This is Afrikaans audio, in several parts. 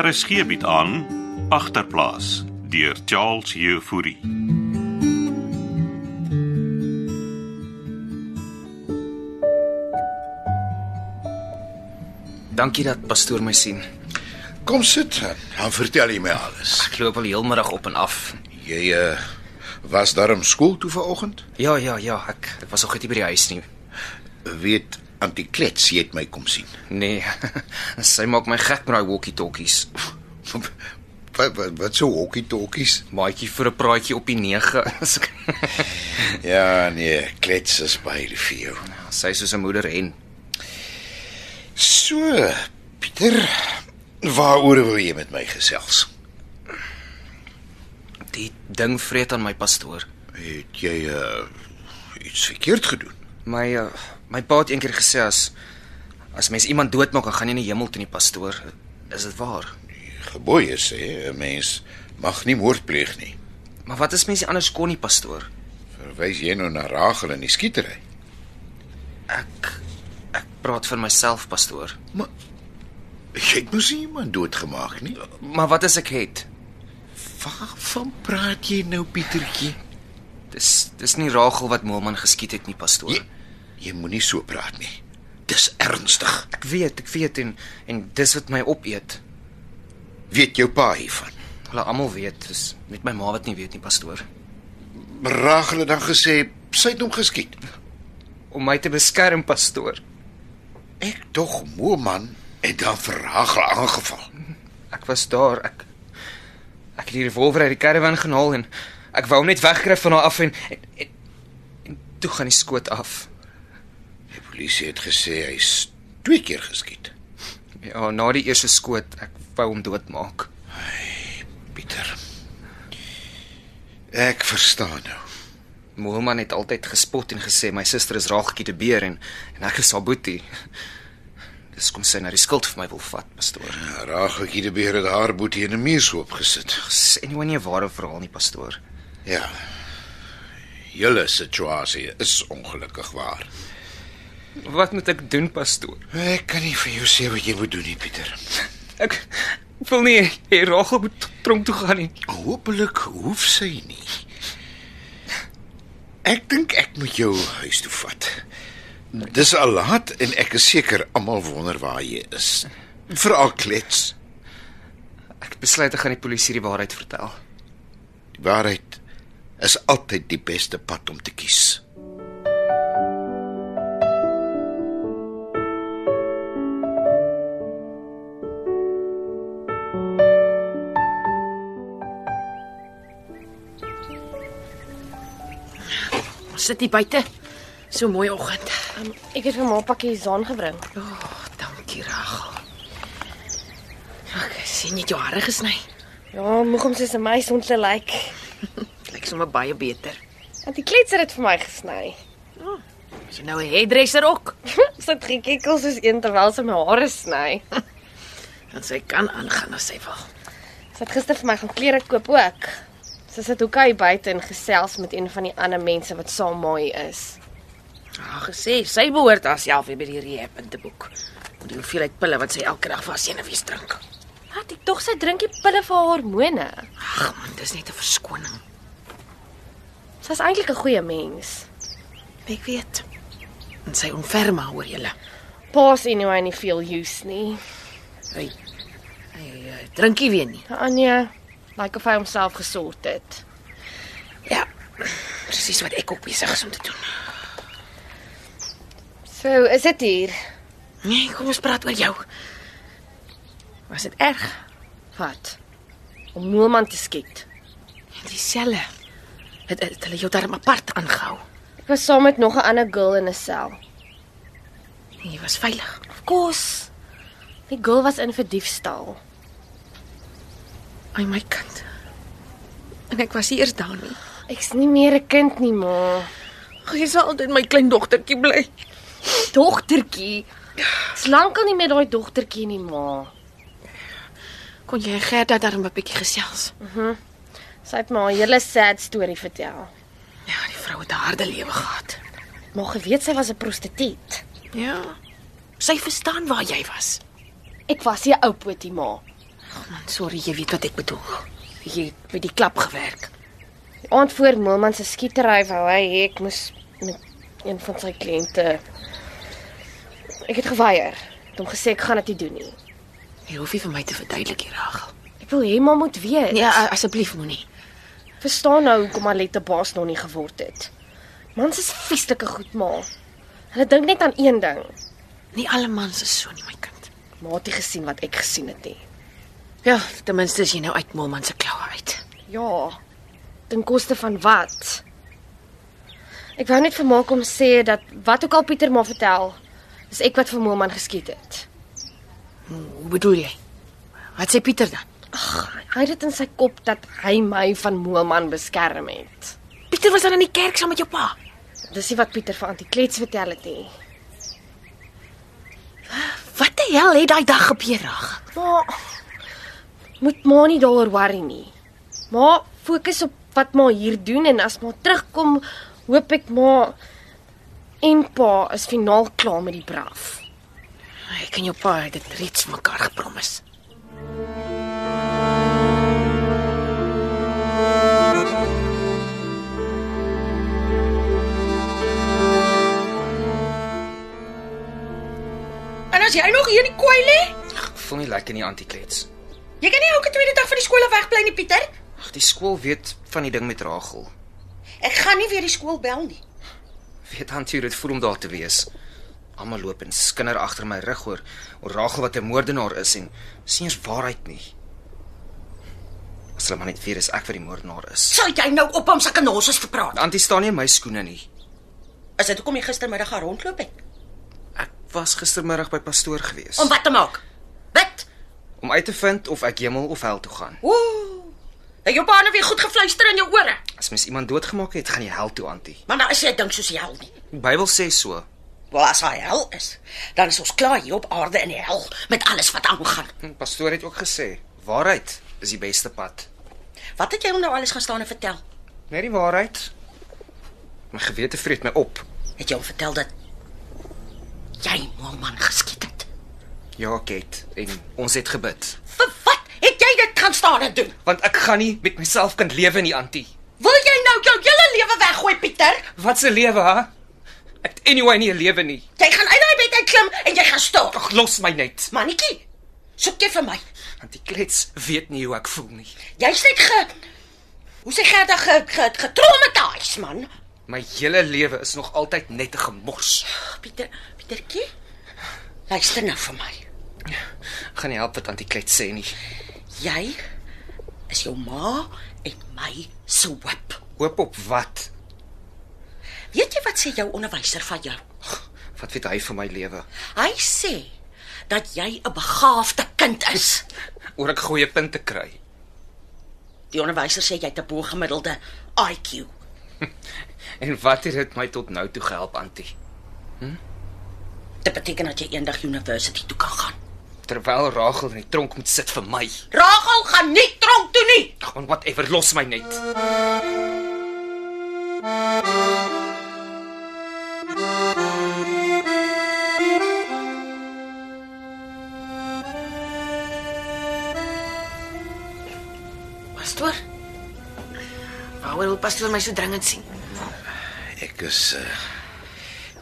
RSG bied aan agterplaas deur Charles Jefouri. Dankie dat pastoor my sien. Kom sit. Dan vertel jy my alles. Ek loop al heelmiddag op en af. Jy uh, was daarom skool toe vanoggend? Ja, ja, ja, ek ek was nog net nie by die huis nie. Weet Antiklets, jy het my kom sien. Nee. Sy maak my gek met daai walkie-talkies. Wat wat, wat so hokkie-tokkies? Maatjie vir 'n praatjie op die 9. As ek- Ja, nee, klets is baie lief vir jou. Sy is soos 'n moeder hen. So, Pieter, waaroor wil jy met my gesels? Die ding vreet aan my pastoor. Het jy uh, iets verkeerd gedoen? My uh, my pa het eendag gesê as as mens iemand doodmaak, dan gaan jy in die hemel toe nie pastoor. Is dit waar? Geboye sê 'n mens mag nie moord pleeg nie. Maar wat as mense anders kon nie pastoor? Verwys jy nou na Ragel en die skietery? Ek ek praat vir myself pastoor. Maar jy het mos nie iemand doodgemaak nie. Maar wat as ek het? Waarvan praat jy nou, Pietertjie? Dis dis nie Ragel wat Moelman geskiet het nie pastoor. Jy, jy moenie so praat nie. Dis ernstig. Ek weet, ek weet en en dis wat my opeet. Weet jou pa hiervan? Hulle almal weet, dis net my ma wat nie weet nie, pastoor. Ragel het dan gesê sy het hom geskiet. Om my te beskerm, pastoor. Ek tog moe man het dan vir Ragel aangeval. Ek was daar, ek ek het die revolver uit die karavan gehaal en ek wou hom net wegkry van haar af en en, en, en toe gaan die skoot af. Die polisie het gesê hy's twee keer geskiet. Ja, na die eerste skoot, ek wou hom doodmaak. Pieter. Ek verstaan nou. Moelman het altyd gespot en gesê my suster is Raagtjie te beer en en ek is haar boetie. Dis kom sy na die skuld vir my wil vat, pastoor. Ja. Rageltjie die beer het haar boetie in 'n muurshoop gesit. Sê nie wanneer ware verhaal nie, pastoor. Ja. Julle situasie is ongelukkig waar. Wat moet ek doen, pastoor? Ek kan nie vir jou sê wat jy moet doen nie, Pieter. Ek wil nie hê Rachel moet tronk toe gaan nie. Hoopelik hoef sy nie. Ek dink ek moet jou huis toe vat. Dis al laat en ek is seker almal wonder waar jy is. Veral klets. Ek het besluit ek gaan die polisie die waarheid vertel. Die waarheid is altyd die beste pad om te kies. Ons sit hier buite. So mooi oggend. Um, ek het vir ma 'n pakkie saan gebring. O, oh, dankie Ragel. Ek sien net jou hare gesny. Ja, moeg om soos 'n meisie om te lyk. Lyk sommer baie beter. Want die kletser het vir my gesny. Is jy nou 'n hairdresser ook? Sy trek ekkel soos een terwyl sy my hare sny. Dan sy kan aangaan as sy wil. Sy het gister vir my gaan klere koop ook. Sy sit hoekie buite en gesels met een van die ander mense wat saam mooi is. Haar gesê sy behoort haarself weer by die rehab in te boek. Met die hoeveelheid pille wat sy elke dag vir haar senuwees drink. Wat ek tog sy drink die pille vir haar hormone. Ag man, dis net 'n verskoning. Sy's eintlik 'n goeie mens. Ek weet. En sy onferma oor julle. Pa's anyway nie veel use nie. Hy hy eh, drink nie weer nie. Anja, lyk of hy homself gesort het. Ja. Presies wat ek ook besig is om te doen. So, is dit hier? Nee, kom ons praat oor jou. Was dit erg? Wat? Om niemand te skiet. Ja, Dieselfde. Het, het hulle jou darm apart aangehou? Ek was saam met nog 'n ander girl in 'n sel. En Nee, jy was veilig. Kos. Die girl was in vir diefstal. Ai my kind. En ek was nie eers daar nie. Ek's nie meer 'n kind nie, ma. Ag, jy sal altyd my klein dogtertjie bly. Dogtertjie. Ek's lankal nie meer daai dogtertjie nie, ma. Kon jy en Gerda darm 'n bietjie gesels? Sy het my haar hele sad storie vertel. Ja, die vrou het 'n harde lewe gehad. Maar geweet sy was 'n prostituut. Ja. Sy verstaan waar jy was. Ek was nie 'n ou poetie, ma. Man, sorry, jy weet wat ek bedoel. Jy het met die klap gewerk. Die aand voor Moelman se skietery wou hy hê ek moes met een van sy kliënte Ek het geweier. Ek het hom gesê ek gaan dit nie doen nie. Jy hoef nie vir my te verduidelik hier, Ragel. Ek wil hê maar moet weet. Nee, a- asseblief moenie. Verstaan nou hoekom Alette baas nog nie geword het. Mans is vieslike goed maar. Hulle dink net aan een ding. Nie alle mans is so nie, my kind. Maatie gesien wat ek gesien het nie. Ja, ten minste is jy nou uit Momman se kloue uit. Ja. Ten koste van wat? Ek wou net vir Ma kom sê dat wat ook al Pieter maar vertel, is ek wat vir Moelman geskiet het. Hoe bedoel jy? Wat sê Pieter dan? Hy het dit in sy kop dat hy my van Moelman beskerm het. Pieter was dan in die kerk saam met jou pa. Dis nie wat Pieter vir Antiklets vertel het nie. Wat die hel het daai dag gebeur, Ragel? Ma moet ma nie daaroor worry nie. Ma fokus op wat ma hier doen en as ma terugkom, hoop ek ma en pa is finaal klaar met die braaf. Ek en jou pa het dit reeds vir mekaar gepromis. En as jy nog hier in die kooi lê, Ek voel nie lekker nie, Antiklets. jy kan nie elke tweede dag van die skool af wegbly nie, Pieter. Ag, die skool weet van die ding met Ragel. Ek gaan nie weer die skool bel nie. Weet Antie hoe dit voel om daar te wees. Almal loop en skinder agter my rug oor oor Ragel wat 'n moordenaar is en sien eens waarheid nie. As hulle maar net weet is ek wat die moordenaar is. Sal jy nou op hom se kanosses verpraat? Antie staan nie in my skoene nie. Is dit hoekom jy gistermiddag gaan rondloop het? Ek was gistermiddag by pastoor gewees Om wat te maak? Wat? om uit te vind of ek hemel of hel toe gaan. Ooh. Het jou pa nou weer goed gefluister in jou ore? As mens iemand doodgemaak het, gaan jy hel toe, Antie. Maar nou is jy dink soos die hel nie. Die Bybel sê so. Wel as hy hel is, dan is ons klaar hier op aarde in die hel met alles wat aangaan. Hm, Pastoor het ook gesê, waarheid is die beste pad. Wat het jy hom nou alles gaan staan en vertel? Net die waarheid. My gewete vreet my op. Het jy hom vertel dat jy my man geskiet het? Ja, Kate, en ons het gebid. Vir wat het jy dit gaan staan en doen? Want ek gaan nie met myself kan lewe nie, Antie. Wil jy nou jou hele lewe weggooi, Pieter? Wat se lewe, ha? Ek het anyway nie 'n lewe nie. Jy gaan uit daai bed uitklim en jy gaan stort. Ag, los my net. Mannetjie, soek jy vir my. Antie Klets weet nie hoe ek voel nie. Jy's net ge Hoe sê Gerda ge, ge, getraumatiseer, man? My hele lewe is nog altyd net 'n gemors. Ag, Pieter, Pietertjie. Luister nou vir my. Gaan nie help wat Antie Klets sê nie. Jy is jou ma en my swip. Hoop op wat? Weet jy wat sê jou onderwyser van jou? Wat weet hy van my lewe? Hy sê dat jy 'n begaafde kind is. Oor ek goeie punte kry. Die onderwyser sê jy het 'n bo-gemiddelde IQ. En wat het dit my tot nou toe gehelp, Antie? Dit beteken dat jy eendag university toe kan gaan. Terwyl Ragel in die tronk moet sit vir my. Rachel gaan nie tronk toe nie. Ag, on whatever, los my net. Pastoor? Waaroor wil pastoor my so dringend sien? Ek is uh,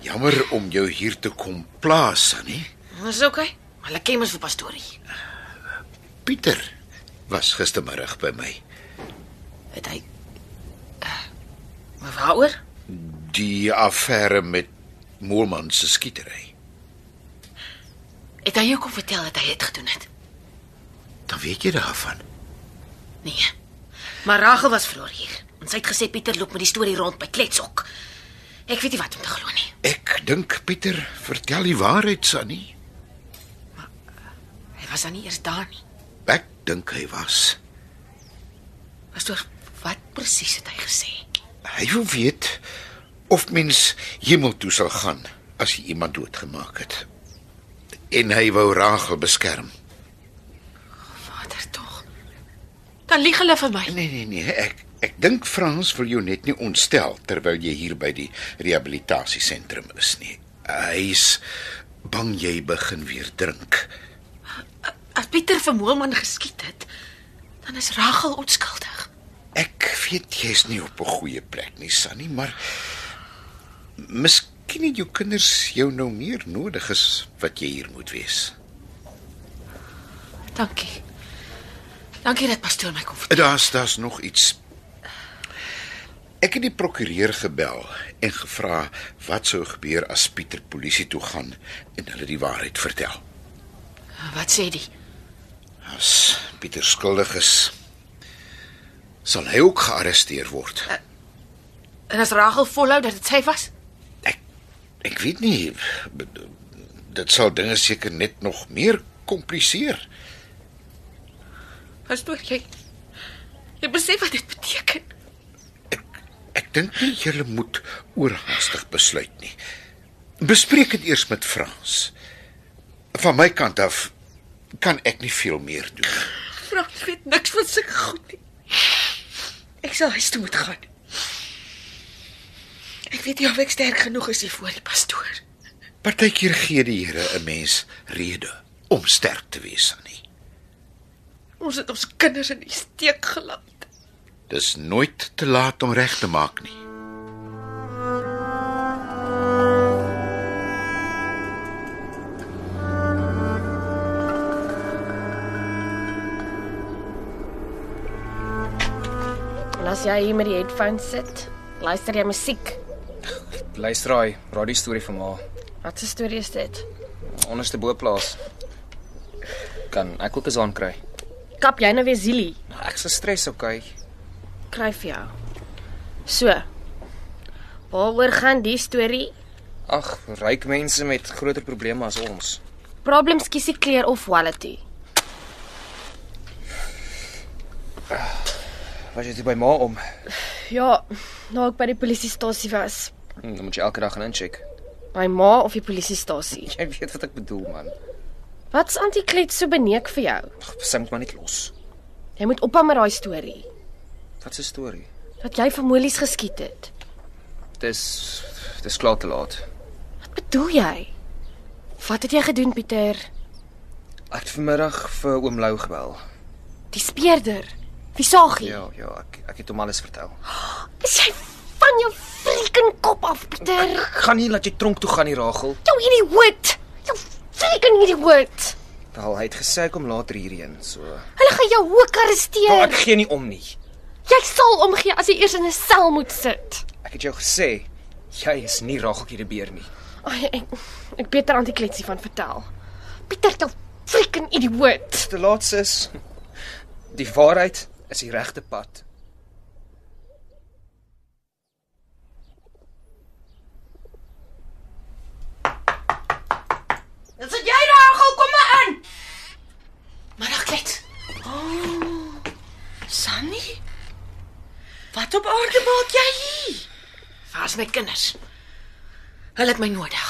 jammer om jou hier te kom plaas, Annie. Dis oukei. Okay. Maar hulle ken mos vir pastoorie. Pieter was gistermiddag by my. Het hy Eh, Maar waaroor? Die affære met Moelman se skietery. Het hy jou kom vertel dat hy dit gedoen het? Dan weet jy daarvan. Nee. Maar Ragel was vroeër hier. Ons het gesê Pieter loop met die storie rond by Kletsok. Ek weet nie wat om te glo nie. Ek dink Pieter vertel die waarheid, Sannie. Hy was dan nie eers daar nie. Ek dink hy was. Pastoor, wat presies het hy gesê? Hy wil weet of mens hemel toe sal gaan as jy iemand doodgemaak het. En hy wou Rachel beskerm. Vader tog. Dan lieg hulle vir my. Nee nee nee, ek ek dink Frans wil jou net nie ontstel terwyl jy hier by die rehabilitasiesentrum is nie. Hy's bang jy begin weer drink. As Pieter vir Moelman geskiet het, dan is Ragel onskuldig. Ek weet jy's nie op 'n goeie plek nie, Sunny, maar miskien het jou kinders jou nou meer nodig as wat jy hier moet wees. Dankie. Dankie dat pastoor my kom vertel. Daar's daar's nog iets. Ek het die prokureur gebel en gevra wat sou gebeur as Pieter polisie toe gaan en hulle die waarheid vertel. Wat sê die? As Pieter skuldig is, sal hy ook gearresteer word. En as Ragel volhou dat dit sy was? Ek ek weet nie b- dit sal dinge seker net nog meer kompliseer. Pastoor, jy jy besef wat dit beteken. Ek dink nie jy moet oorhaastig besluit nie. Bespreek dit eers met Frans. Van my kant af kan ek nie veel meer doen. nie. Frans weet niks van sulke goed nie. Ek sal huis toe moet gaan. Ek weet nie of ek sterk genoeg is hiervoor nie, pastoor. Partykeer gee die Here 'n mens rede om sterk te wees aan nie. Ons het ons kinders in die steek gelaat. Dis nooit te laat om reg te maak nie. En as jy hier met die headphones sit, luister jy musiek. Luister daai radio storie van ma. Wat 'n storie is dit? Onderste bo plaas. Kan ek ook 'n saan kry? Kap jy nou weer Zili? Ek se stres, okay. Kry vir jou. So. Waaroor gaan die storie? Ag, ryk mense met groter probleme as ons. Problems kiesie clear of quality. Was jy toe by ma om? Ja, nou ek by die polisiestasie was. Hm, Dan moet jy elke dag gaan incheck. By ma of die polisiestasie. Jy weet wat ek bedoel, man. Wat's antiklet so beneek vir jou? Ag, sy moet maar net los. Jy moet ophou met daai storie Wat 'n storie. dat jy vir Molies geskiet het. Dis dis klaar te laat. Wat bedoel jy? Wat het jy gedoen, Pieter? Ek het vanmiddag vir oom Lou gebel. Die speerder. Wie saagie? Ja, ja, ek ek het hom alles vertel. Is jy van jou freaking kop af, Pieter? Ek gaan nie laat jy tronk toe gaan nie, Ragel. Jou idioot. Jou freaking idioot. Wel, hy het gesê ek kom later hierheen, so. Hulle gaan jou ook Maar arresteer. ek gee nie om nie. Jy sal omgee as jy eers in 'n sel moet sit. Ek het jou gesê jy is nie Rageltjie die beer nie. Ag ek ek beter antikletsie van vertel. Pieter, jou freaking idioot. Te laat is die waarheid is die regte pad. Dit sit jy daar, gou kom maar in. Middag klets. Sunny? Wat op aarde maak jy hier? Waar's my kinders? Hulle het my nodig.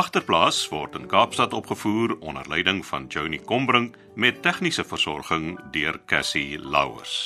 Agterplaas word in Kaapstad opgevoer onder leiding van Johnny Combrink met tegniese versorging deur Cassie Louws.